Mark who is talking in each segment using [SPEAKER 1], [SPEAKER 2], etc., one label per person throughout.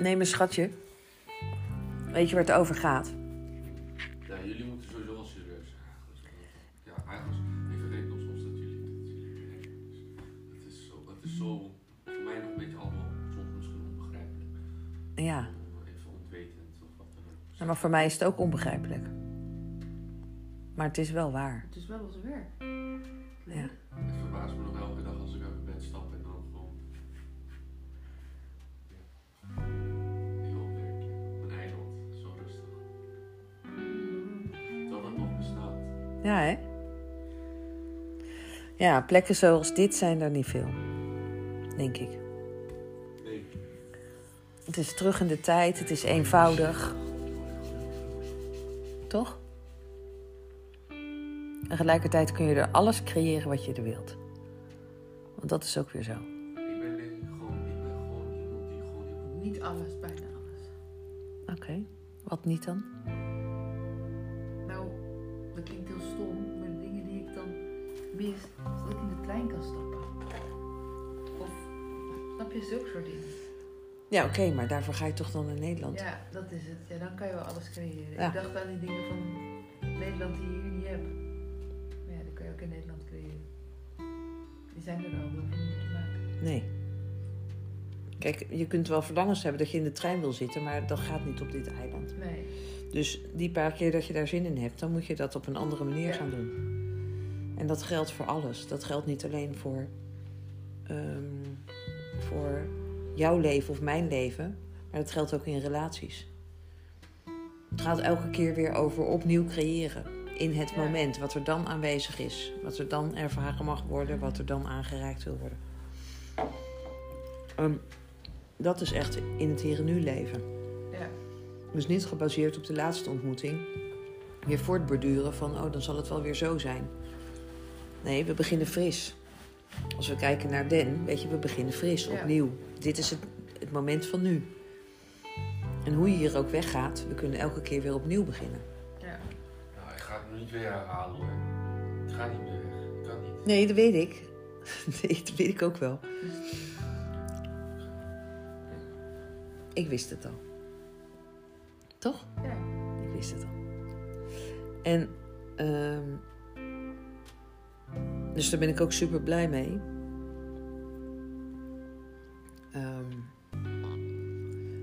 [SPEAKER 1] Nee, mijn schatje. Weet je waar het over gaat?
[SPEAKER 2] Ja, jullie moeten sowieso wel serieus zijn eigenlijk. Ja, eigenlijk, ik vergeet nog soms dat jullie dat jullie werken. Dus het is zo, het is zo voor mij nog een beetje allemaal soms misschien onbegrijpelijk.
[SPEAKER 1] Ja, Nou,
[SPEAKER 2] Even ontwetend of wat dan ook.
[SPEAKER 1] maar voor mij is het ook onbegrijpelijk. Maar het is wel waar.
[SPEAKER 3] Het is wel ons werk.
[SPEAKER 1] Ja.
[SPEAKER 2] Het verbaast me nog elke dag als ik uit mijn bed stap en dan gewoon... Ja. Heel werk. Een eiland. Zo rustig. Dat het nog bestaat.
[SPEAKER 1] Ja, hè? Ja, plekken zoals dit zijn er niet veel. Denk ik.
[SPEAKER 2] Nee.
[SPEAKER 1] Het is terug in de tijd, het is eenvoudig. Toch? En tegelijkertijd kun je er alles creëren wat je er wilt. Want dat is ook weer zo.
[SPEAKER 2] Ik ben denk ik gewoon, ik ben gewoon iemand die gewoon heel
[SPEAKER 3] Niet alles, bijna alles.
[SPEAKER 1] Oké, wat niet dan?
[SPEAKER 3] Nou, dat klinkt heel stom, maar de dingen die ik dan mis, is dat ik in de trein kan stappen. Of, snap je, zulke soort dingen.
[SPEAKER 1] Ja, oké, maar daarvoor ga je toch dan naar Nederland?
[SPEAKER 3] Ja, dat is het. Ja, dan kan je wel alles creëren.
[SPEAKER 1] Ja.
[SPEAKER 3] Ik dacht aan die dingen van Nederland die je hier niet hebt. Maar ja, die kan je ook in Nederland creëren. Die zijn er al, daar hoef je niet mee te maken.
[SPEAKER 1] Nee. Kijk, je kunt wel verlangens hebben dat je in de trein wil zitten, maar dat gaat niet op dit eiland.
[SPEAKER 3] Nee.
[SPEAKER 1] Dus die paar keer dat je daar zin in hebt, dan moet je dat op een andere manier
[SPEAKER 3] Ja.
[SPEAKER 1] gaan doen. En dat geldt voor alles. Dat geldt niet alleen voor, ehm, voor jouw leven of mijn leven, maar dat geldt ook in relaties. Het gaat elke keer weer over opnieuw creëren. In het
[SPEAKER 3] Ja.
[SPEAKER 1] moment, wat er dan aanwezig is, wat er dan ervaren mag worden, wat er dan aangeraakt wil worden. Ehm, dat is echt in het hier en nu leven.
[SPEAKER 3] Ja.
[SPEAKER 1] Dus niet gebaseerd op de laatste ontmoeting. Weer voortborduren van, oh, dan zal het wel weer zo zijn. Nee, we beginnen fris. Als we kijken naar Den, weet je, we beginnen fris,
[SPEAKER 3] Ja.
[SPEAKER 1] opnieuw. Dit is het, het moment van nu. En hoe je hier ook weggaat, we kunnen elke keer weer opnieuw beginnen.
[SPEAKER 3] Ja.
[SPEAKER 2] Nou, ik ga het nu niet weer herhalen hoor. Het gaat niet meer weg. Het kan niet.
[SPEAKER 1] Nee, dat weet ik. Nee, dat weet ik ook wel. Ik wist het al. Toch?
[SPEAKER 3] Ja.
[SPEAKER 1] Ik wist het al. En ehm, dus daar ben ik ook super blij mee. Ehm,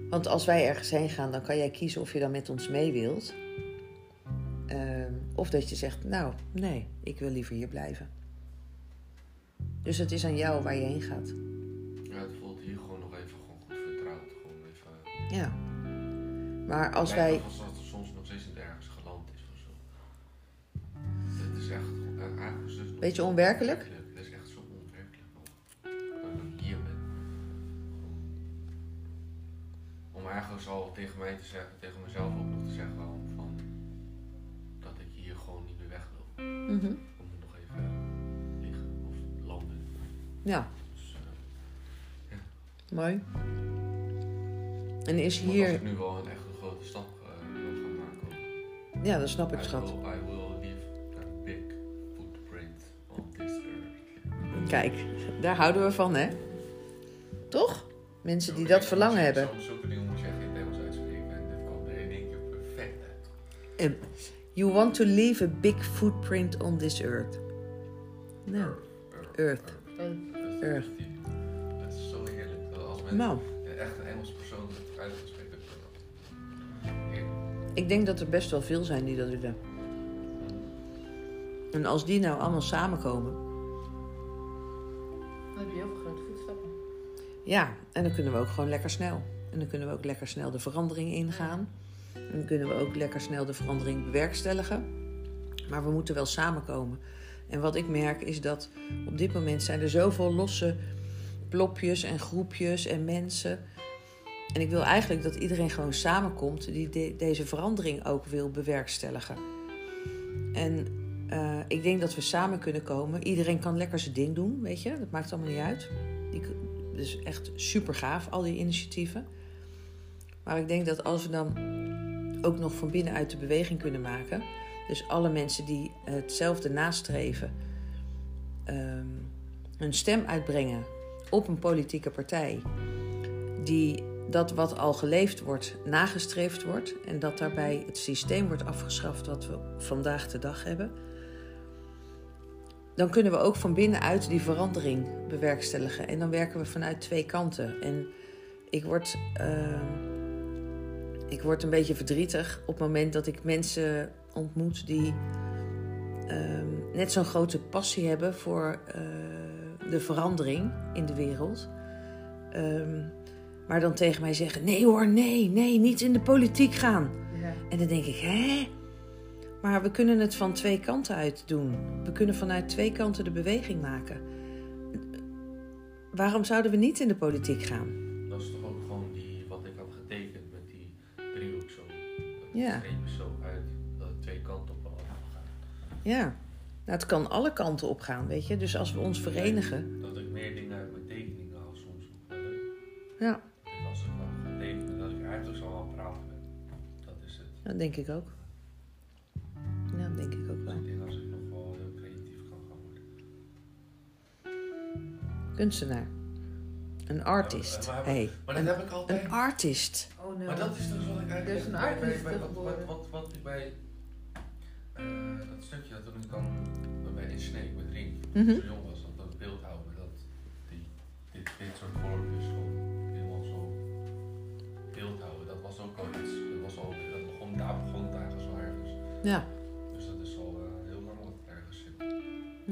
[SPEAKER 1] want als wij ergens heen gaan, dan kan jij kiezen of je dan met ons mee wilt. Ehm, of dat je zegt, nou nee, ik wil liever hier blijven. Dus het is aan jou waar je heen gaat.
[SPEAKER 2] Ja, het voelt hier gewoon nog even gewoon goed vertrouwd. Gewoon even.
[SPEAKER 1] Ja. Maar als
[SPEAKER 2] Lijkt
[SPEAKER 1] wij.
[SPEAKER 2] nog Alsof het soms nog steeds niet ergens geland is of zo. Het is echt. eh, Eigenlijk is het nog
[SPEAKER 1] Beetje
[SPEAKER 2] zo
[SPEAKER 1] onwerkelijk?
[SPEAKER 2] Het is echt zo onwerkelijk. man. Dat ik hier ben. Om eigenlijk al tegen mij te zeggen, tegen mezelf ook nog te zeggen waarom van. Dat ik hier gewoon niet meer weg wil.
[SPEAKER 1] Mhm.
[SPEAKER 2] Ik moet nog even eh, liggen of landen.
[SPEAKER 1] Ja,
[SPEAKER 2] Dus, eh,
[SPEAKER 1] mooi. En is
[SPEAKER 2] Want
[SPEAKER 1] hier.
[SPEAKER 2] Als ik nu wel een echt een grote stap eh, wil gaan maken.
[SPEAKER 1] Ja, dat snap ik,
[SPEAKER 2] I
[SPEAKER 1] schat.
[SPEAKER 2] will, I will leave a big footprint on this earth.
[SPEAKER 1] Kijk, daar houden we van, hè? Toch? Mensen die dat verlangen hebben.
[SPEAKER 2] Zulke dingen moet je echt in het Engels uitspreken. En dit kwam er in één keer perfect uit.
[SPEAKER 1] En You want to leave a big footprint on this earth. Nou,
[SPEAKER 2] Earth.
[SPEAKER 1] Earth.
[SPEAKER 3] En
[SPEAKER 2] Dat is-
[SPEAKER 1] Earth.
[SPEAKER 2] Dat is zo heerlijk. Dat als mensen
[SPEAKER 1] nou,
[SPEAKER 2] echt een Engels persoon het uit kan spreken. Heerlijk.
[SPEAKER 1] ik denk dat er best wel veel zijn die dat willen. En als die nou allemaal samenkomen,
[SPEAKER 3] Dan heb je heel veel grote voetstappen.
[SPEAKER 1] ja, en dan kunnen we ook gewoon lekker snel. En dan kunnen we ook lekker snel de verandering ingaan. En dan kunnen we ook lekker snel de verandering bewerkstelligen. Maar we moeten wel samenkomen. En wat ik merk is dat op dit moment zijn er zoveel losse plopjes en groepjes en mensen. En ik wil eigenlijk dat iedereen gewoon samenkomt die de- deze verandering ook wil bewerkstelligen. En eh, ik denk dat we samen kunnen komen. Iedereen kan lekker zijn ding doen, weet je. Dat maakt allemaal niet uit. Die, k- dus echt super gaaf, al die initiatieven. Maar ik denk dat als we dan ook nog van binnenuit de beweging kunnen maken. Dus alle mensen die hetzelfde nastreven, ehm, hun stem uitbrengen op een politieke partij die dat wat al geleefd wordt, nagestreefd wordt en dat daarbij het systeem wordt afgeschaft wat we vandaag de dag hebben, dan kunnen we ook van binnenuit die verandering bewerkstelligen. En dan werken we vanuit twee kanten. En ik word, eh, ik word een beetje verdrietig op het moment dat ik mensen ontmoet die ehm, net zo'n grote passie hebben voor eh, de verandering in de wereld. Ehm, maar dan tegen mij zeggen: nee hoor, nee, nee, niet in de politiek gaan.
[SPEAKER 3] Ja.
[SPEAKER 1] En dan denk ik, hè? Maar we kunnen het van twee kanten uit doen. We kunnen vanuit twee kanten de beweging maken. Waarom zouden we niet in de politiek gaan?
[SPEAKER 2] Dat is toch ook gewoon die, wat ik had getekend met die driehoek zo. Dat
[SPEAKER 1] Ja.
[SPEAKER 2] streep is zo uit dat het twee kanten op kan gaan.
[SPEAKER 1] Ja, nou, het kan alle kanten op gaan, weet je. Dus als we ons verenigen.
[SPEAKER 2] Dat ik meer dingen uit mijn tekeningen haal soms. Dat ik-
[SPEAKER 1] Ja,
[SPEAKER 2] dat als ik dan ga tekenen, dat ik eigenlijk zo aan het praten ben. Dat is het.
[SPEAKER 1] dat denk ik ook. Ja, dat denk ik ook wel.
[SPEAKER 2] Ik denk als ik nog wel heel creatief kan gaan worden.
[SPEAKER 1] Kunstenaar. Een artist.
[SPEAKER 2] Ja, maar-
[SPEAKER 1] Hey,
[SPEAKER 2] Maar dat heb ik altijd.
[SPEAKER 1] een artist.
[SPEAKER 3] Oh no.
[SPEAKER 2] Maar dat is dus wat ik eigenlijk.
[SPEAKER 3] Er is een
[SPEAKER 2] bij- bij-
[SPEAKER 3] artiest
[SPEAKER 2] bij- wat-
[SPEAKER 3] geworden.
[SPEAKER 2] Wat, wat, wat ik bij. eh, dat stukje dat toen ik dan bij In Snake met Rink,
[SPEAKER 3] Hm?
[SPEAKER 1] Mhm.
[SPEAKER 2] zo jong was, dat dat beeld houden, dat die, dit, dit soort vorm is gewoon helemaal zo beeld houden. Dat was ook al iets, dat was al, dat begon, daar begon het eigenlijk zo ergens.
[SPEAKER 1] Ja,
[SPEAKER 2] Dus dat is al eh, heel lang wat er ergens zit.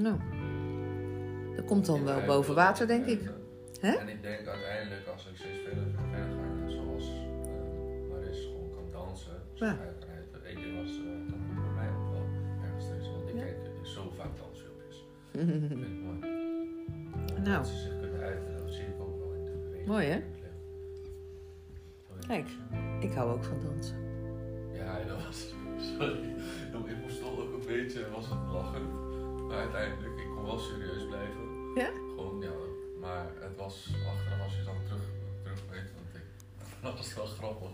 [SPEAKER 1] nou. Dat komt dan wel boven water, denk ik. Hè?
[SPEAKER 2] eh, En ik denk uiteindelijk, als ik steeds verder, verder ga, net zoals eh, Maris gewoon kan dansen. Dus
[SPEAKER 1] Ja.
[SPEAKER 2] hij kan uit- Eén keer was eh, dat goed voor mij ook wel ergens steeds, want ik
[SPEAKER 1] Ja.
[SPEAKER 2] kijk eh, zo vaak dansfilmpjes. Dat vind ik mooi. Omdat
[SPEAKER 1] Nou.
[SPEAKER 2] ze zich kunnen uiten, dat zie ik ook wel in de beweging.
[SPEAKER 1] Mooi, hè?
[SPEAKER 2] in het lichaam. Sorry.
[SPEAKER 1] Kijk. Ik hou ook van dansen.
[SPEAKER 2] Ja, dat was. Sorry. Ik moest toch ook een beetje, was het lachen. Maar uiteindelijk, ik kon wel serieus blijven.
[SPEAKER 1] Ja?
[SPEAKER 2] Gewoon, ja. Maar het was, achteraf als je dan terug, terug weet, want ik, dat was wel grappig.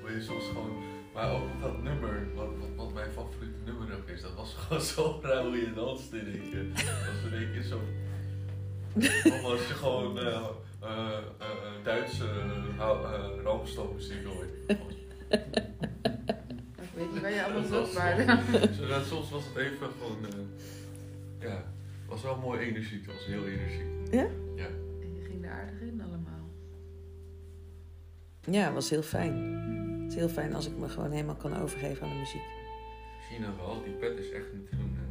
[SPEAKER 2] Hoe je soms gewoon, maar ook dat nummer, wat, wat, wat mijn favoriete nummer ook is, dat was gewoon zo raar hoe je danst in één keer. Dat was in één keer zo... Of als je gewoon eh eh, eh, Duitse uh, muziek hoort.
[SPEAKER 3] Ik weet niet waar je allemaal
[SPEAKER 2] Dat
[SPEAKER 3] zat,
[SPEAKER 2] was
[SPEAKER 3] maar...
[SPEAKER 2] soms- zo- dat- soms was het even gewoon. eh, ja, was wel mooi energiek. Het was heel energiek.
[SPEAKER 3] En je ging er aardig in allemaal.
[SPEAKER 1] Ja, was heel fijn. Het is heel fijn als ik me gewoon helemaal kan overgeven aan de muziek.
[SPEAKER 2] China vooral, die pet is echt niet te doen. hè.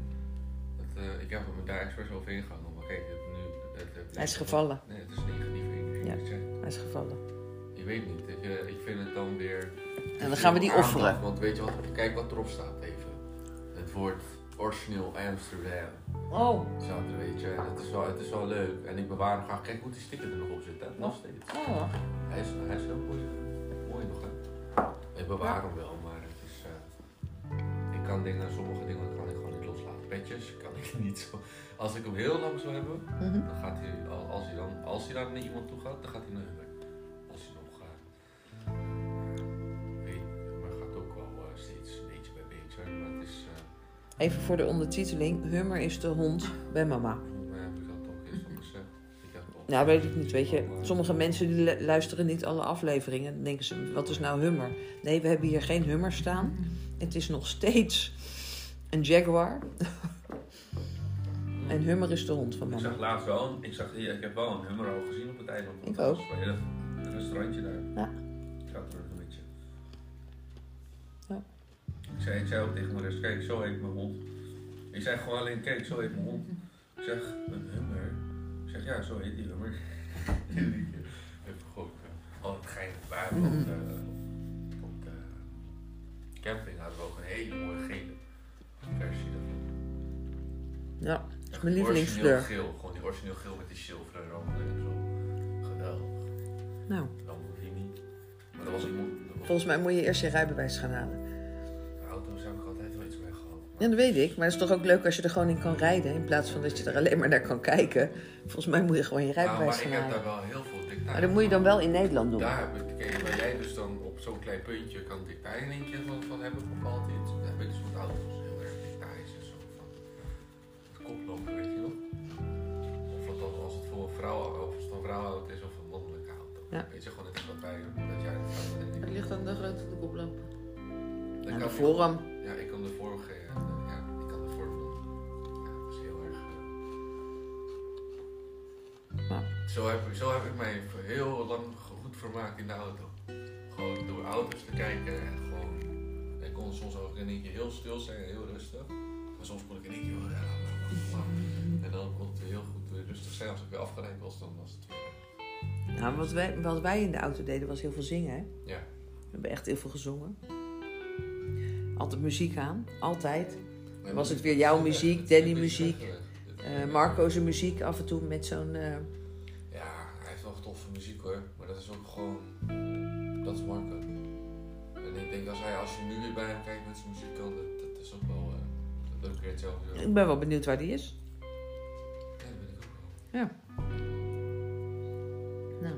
[SPEAKER 2] Dat, eh, ik heb me daar expres over ingehangen. Maar kijk, het, nu, het, het-
[SPEAKER 1] Hij is gevallen.
[SPEAKER 2] Nee, het is negatief energie.
[SPEAKER 1] Ja.
[SPEAKER 2] dus ja,
[SPEAKER 1] Hij is gevallen.
[SPEAKER 2] Ik weet niet. Ik, eh, ik vind het dan weer.
[SPEAKER 1] En dan gaan we die
[SPEAKER 2] Aandacht,
[SPEAKER 1] offeren.
[SPEAKER 2] Want weet je wat? Kijk wat erop staat even. Het woord origineel Amsterdam.
[SPEAKER 1] Oh,
[SPEAKER 2] Staat er, weet je. En het is, wel, het is wel leuk. En ik bewaar hem graag. Kijk hoe die sticker er nog op zit. Hè? Nog steeds.
[SPEAKER 1] oh.
[SPEAKER 2] Hij is, hij is heel mooi, mooi nog, hè? Ik bewaar hem wel, maar het is... eh, ik kan dingen, sommige dingen kan ik gewoon niet loslaten. Petjes kan ik niet zo... Als ik hem heel lang zou hebben,
[SPEAKER 1] Mhm.
[SPEAKER 2] dan gaat hij... al- Als hij dan, als hij dan naar iemand toe gaat, dan gaat hij naar hem. Als hij nog gaat... Weet ik, maar gaat ook wel eh, steeds beetje bij beetje. Maar het is... eh,
[SPEAKER 1] Even voor de ondertiteling. Hummer is de hond bij mama.
[SPEAKER 2] hoe heb ik dat ook eens al gezegd? Ik heb al-
[SPEAKER 1] Nou, weet ik niet, weet je. Sommige mensen die lu- luisteren niet alle afleveringen. Dan denken ze, wat is nou hummer? Nee, we hebben hier geen hummer staan. Het is nog steeds een jaguar. En hummer is de hond van
[SPEAKER 2] Ik
[SPEAKER 1] mama.
[SPEAKER 2] zag laatst wel, een- ik, zag, ik heb wel een hummer al gezien op het eiland.
[SPEAKER 1] Ik ook.
[SPEAKER 2] Bij dat dat restaurantje daar.
[SPEAKER 1] Ja.
[SPEAKER 2] Ik had er een beetje.
[SPEAKER 1] Ja.
[SPEAKER 2] Ik zei, ik zei ook tegen mijn rest, kijk, zo heet mijn hond. Ik zei gewoon alleen, kijk, zo heet mijn hond. Ik zeg, een hummer? Ik zeg, ja, zo heet die hummer. Even goed. Oh, het geinig waar,
[SPEAKER 1] Mm.
[SPEAKER 2] want eh, op de camping hadden we ook een hele mooie gele versie daarvan.
[SPEAKER 1] Ja, dat is
[SPEAKER 2] Origineel
[SPEAKER 1] mijn lievelingskleur.
[SPEAKER 2] geel, gewoon die origineel geel met die zilveren randen en zo. Geweldig.
[SPEAKER 1] Nou,
[SPEAKER 2] Lamborghini. Maar dat was iemand. Dat was...
[SPEAKER 1] volgens mij moet je eerst je rijbewijs gaan halen.
[SPEAKER 2] Auto's heb ik altijd wel iets mee gehad.
[SPEAKER 1] Ja, dat weet ik. Maar het is toch ook leuk als je er gewoon in kan rijden. In plaats van dat je er alleen maar naar kan kijken. Volgens mij moet je gewoon je
[SPEAKER 2] Nou,
[SPEAKER 1] rijbewijs
[SPEAKER 2] maar
[SPEAKER 1] gaan
[SPEAKER 2] ik heb
[SPEAKER 1] halen.
[SPEAKER 2] daar wel heel veel dictijn.
[SPEAKER 1] Maar dat moet je dan wel in Nederland doen.
[SPEAKER 2] Daar heb ik, kijk, waar jij dus dan op zo'n klein puntje kan dictijn in je van, van hebben, ook altijd. Daar heb ik dus met auto's heel erg dictijns en zo. Van het koplopen, weet je nog? Of wat dan als het voor een vrouw, of als het een vrouwenauto is of een mannelijke auto.
[SPEAKER 1] Ja.
[SPEAKER 2] Weet je gewoon, het is wat wij, dat
[SPEAKER 3] van de grootte van de koplampen.
[SPEAKER 2] Dan kan
[SPEAKER 1] Naar Nou, de
[SPEAKER 2] ik-
[SPEAKER 1] forum.
[SPEAKER 2] Ja, ik kan de vorm geven. Ja, ik kan de vorm van. Ja, dat is heel erg. eh.
[SPEAKER 1] Ja.
[SPEAKER 2] Zo, heb, ik- zo heb ik mij voor heel lang goed vermaakt in de auto. Gewoon door auto's te kijken en gewoon. Ik kon soms ook in één keer heel stil zijn en heel rustig. Maar soms kon ik in één keer. wel, Ja, en dan kon het weer heel goed weer rustig zijn. Als ik weer afgeleid was, dan was het weer.
[SPEAKER 1] Nou, wat wij, wat wij in de auto deden was heel veel zingen. Hè?
[SPEAKER 2] Ja.
[SPEAKER 1] We hebben echt heel veel gezongen. Altijd muziek aan, altijd.
[SPEAKER 2] Nee,
[SPEAKER 1] Was
[SPEAKER 2] maar-
[SPEAKER 1] het weer jouw muziek,
[SPEAKER 2] Een
[SPEAKER 1] Danny
[SPEAKER 2] beetje
[SPEAKER 1] muziek,
[SPEAKER 2] weggelegd. Dit-
[SPEAKER 1] Eh Marco's muziek af en toe met zo'n... eh,
[SPEAKER 2] Ja, hij heeft wel toffe muziek hoor. Maar dat is ook gewoon. Dat is Marco. En ik denk als, hij, als je nu weer bij hem kijkt met zijn muziek, dan dat, dat is ook wel. eh, dat ook weer hetzelfde. Ja,
[SPEAKER 1] Ik ben wel benieuwd waar die is.
[SPEAKER 2] dat weet ik ook wel.
[SPEAKER 1] Nou,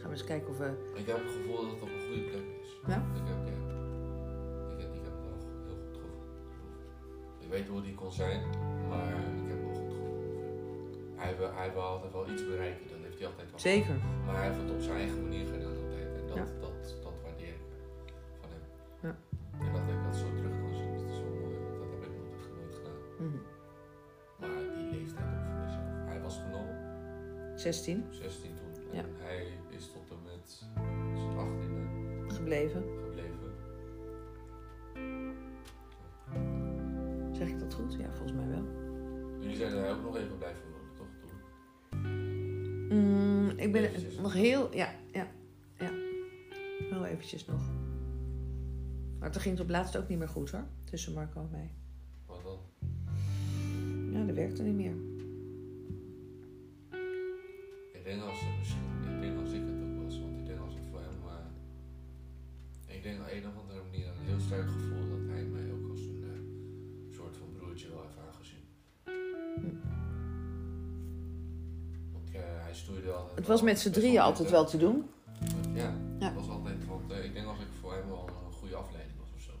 [SPEAKER 1] gaan we eens kijken of we...
[SPEAKER 2] Ik heb het gevoel dat het op een goede plek is.
[SPEAKER 1] Ja?
[SPEAKER 2] Ik heb, ja. Ik heb, ik heb het wel goed- heel goed gevoel. Ik weet hoe die kon zijn, maar ik heb wel goed gevoel. Hij wil, hij wil altijd wel iets bereiken, dan heeft hij altijd wel.
[SPEAKER 1] Zeker.
[SPEAKER 2] Maar hij heeft het op zijn eigen manier gedaan altijd. En dat,
[SPEAKER 1] Ja.
[SPEAKER 2] dat, dat waardeer ik van hem.
[SPEAKER 1] Ja.
[SPEAKER 2] En dat ik dat zo terug kan zien, dat is zo mooi. Want dat heb ik nog nooit- nooit gedaan.
[SPEAKER 1] Mhm.
[SPEAKER 2] Maar die leeftijd ook voor mezelf. Hij was genomen,
[SPEAKER 1] 16
[SPEAKER 2] op 16 toen. En
[SPEAKER 1] Ja.
[SPEAKER 2] hij is tot en met zijn 18e
[SPEAKER 1] gebleven.
[SPEAKER 2] gebleven.
[SPEAKER 1] Zeg ik dat goed? Ja, volgens mij wel.
[SPEAKER 2] Jullie zijn er ook nog even blijven wonen, toch? Toen?
[SPEAKER 1] Mm, ik ben
[SPEAKER 2] Eventjes.
[SPEAKER 1] nog heel... Ja, ja, ja. Heel eventjes nog. Maar toen ging het op het laatst ook niet meer goed hoor. Tussen Marco en mij.
[SPEAKER 2] Wat dan?
[SPEAKER 1] Ja, dat werkte niet meer.
[SPEAKER 2] Ik denk als het misschien, ik denk als ik het ook was, want ik denk als het voor hem, eh ik denk op een of andere manier een heel sterk gevoel dat hij mij ook als een eh, soort van broertje wel heeft aangezien.
[SPEAKER 1] Hm.
[SPEAKER 2] Want eh, hij stoeide altijd.
[SPEAKER 1] Het was
[SPEAKER 2] wel-
[SPEAKER 1] met z'n
[SPEAKER 2] best wel
[SPEAKER 1] drieën
[SPEAKER 2] met,
[SPEAKER 1] altijd
[SPEAKER 2] eh,
[SPEAKER 1] wel te doen.
[SPEAKER 2] Ja,
[SPEAKER 1] Ja.
[SPEAKER 2] het was altijd, want eh, ik denk als ik voor hem wel een goede afleiding was of zo.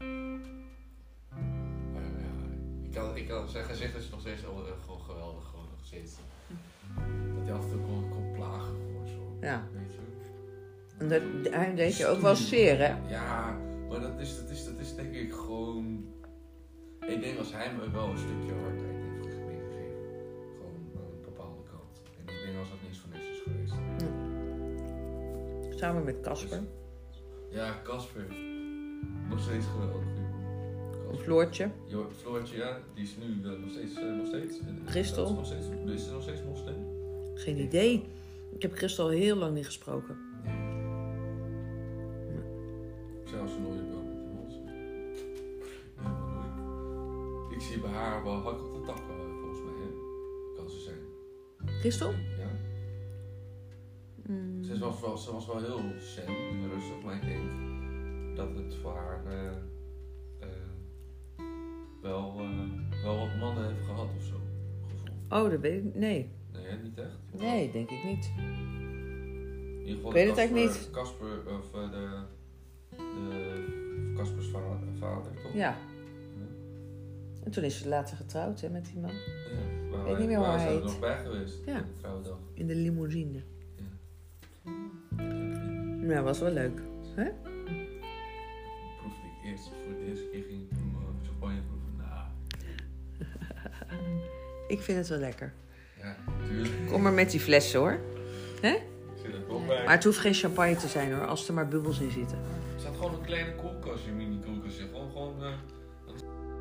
[SPEAKER 2] Maar ja, ik kan, ik kan zijn gezicht is nog steeds wel, eh, gewoon geweldig, gewoon nog steeds. eh, Dat hij af en toe kon, kon plagen gewoon zo.
[SPEAKER 1] Ja.
[SPEAKER 2] Weet je?
[SPEAKER 1] En dat, hij deed je ook wel zeer, hè?
[SPEAKER 2] Ja, maar dat is, dat is, dat is denk ik gewoon. Ik denk als hij me wel een stukje hardheid heeft meegegeven. Gewoon aan een bepaalde kant. En ik denk als dat niets van niks is geweest.
[SPEAKER 1] Samen met Casper.
[SPEAKER 2] Ja, Casper. Nog steeds geweldig.
[SPEAKER 1] Een
[SPEAKER 2] Casper.
[SPEAKER 1] Floortje.
[SPEAKER 2] Jo, Floortje, ja, die is nu eh, nog steeds. eh, nog steeds eh,
[SPEAKER 1] Christel.
[SPEAKER 2] dat Is nog steeds, is ze nog steeds moslim?
[SPEAKER 1] Geen idee. Ik heb Christel al heel lang niet gesproken.
[SPEAKER 2] Zelfs nooit wel met je moslim. Helemaal nooit. Ik zie bij haar wel hak op de tak, eh, volgens mij, hè? Kan ze zijn.
[SPEAKER 1] Christel?
[SPEAKER 2] Ja.
[SPEAKER 1] Mm.
[SPEAKER 2] Ze was wel, ze was wel heel zen en rustig, maar ik denk dat het voor haar eh, eh, wel, eh, wel wat mannen heeft gehad of zo. Gevoel.
[SPEAKER 1] Oh, dat weet ik. Nee.
[SPEAKER 2] Nee, hè? niet echt?
[SPEAKER 1] Nee, denk ik niet.
[SPEAKER 2] In ieder geval
[SPEAKER 1] Ik weet het
[SPEAKER 2] Casper-
[SPEAKER 1] eigenlijk niet.
[SPEAKER 2] Casper, of eh, de, de Caspers vader, vader toch?
[SPEAKER 1] Ja. En toen is ze later getrouwd hè, met die man.
[SPEAKER 2] Ja, waar,
[SPEAKER 1] Weet niet meer hoe
[SPEAKER 2] waar
[SPEAKER 1] hij
[SPEAKER 2] zijn we
[SPEAKER 1] heet.
[SPEAKER 2] nog bij geweest? eh,
[SPEAKER 1] Ja.
[SPEAKER 2] op de Trouwdag.
[SPEAKER 1] In de limousine. Ja, was wel leuk.
[SPEAKER 2] Proefde ik eerst, voor de eerste keer ging ik toen eh, champagne proeven. Nou,
[SPEAKER 1] Ik vind het wel lekker.
[SPEAKER 2] ja, tuurlijk.
[SPEAKER 1] Kom maar met die flessen hoor.
[SPEAKER 2] Ik zit er toch bij.
[SPEAKER 1] Maar het hoeft geen champagne te zijn hoor, als er maar bubbels in zitten.
[SPEAKER 2] Er staat gewoon een kleine koelkastje, mini koelkastje. Gewoon, gewoon eh, een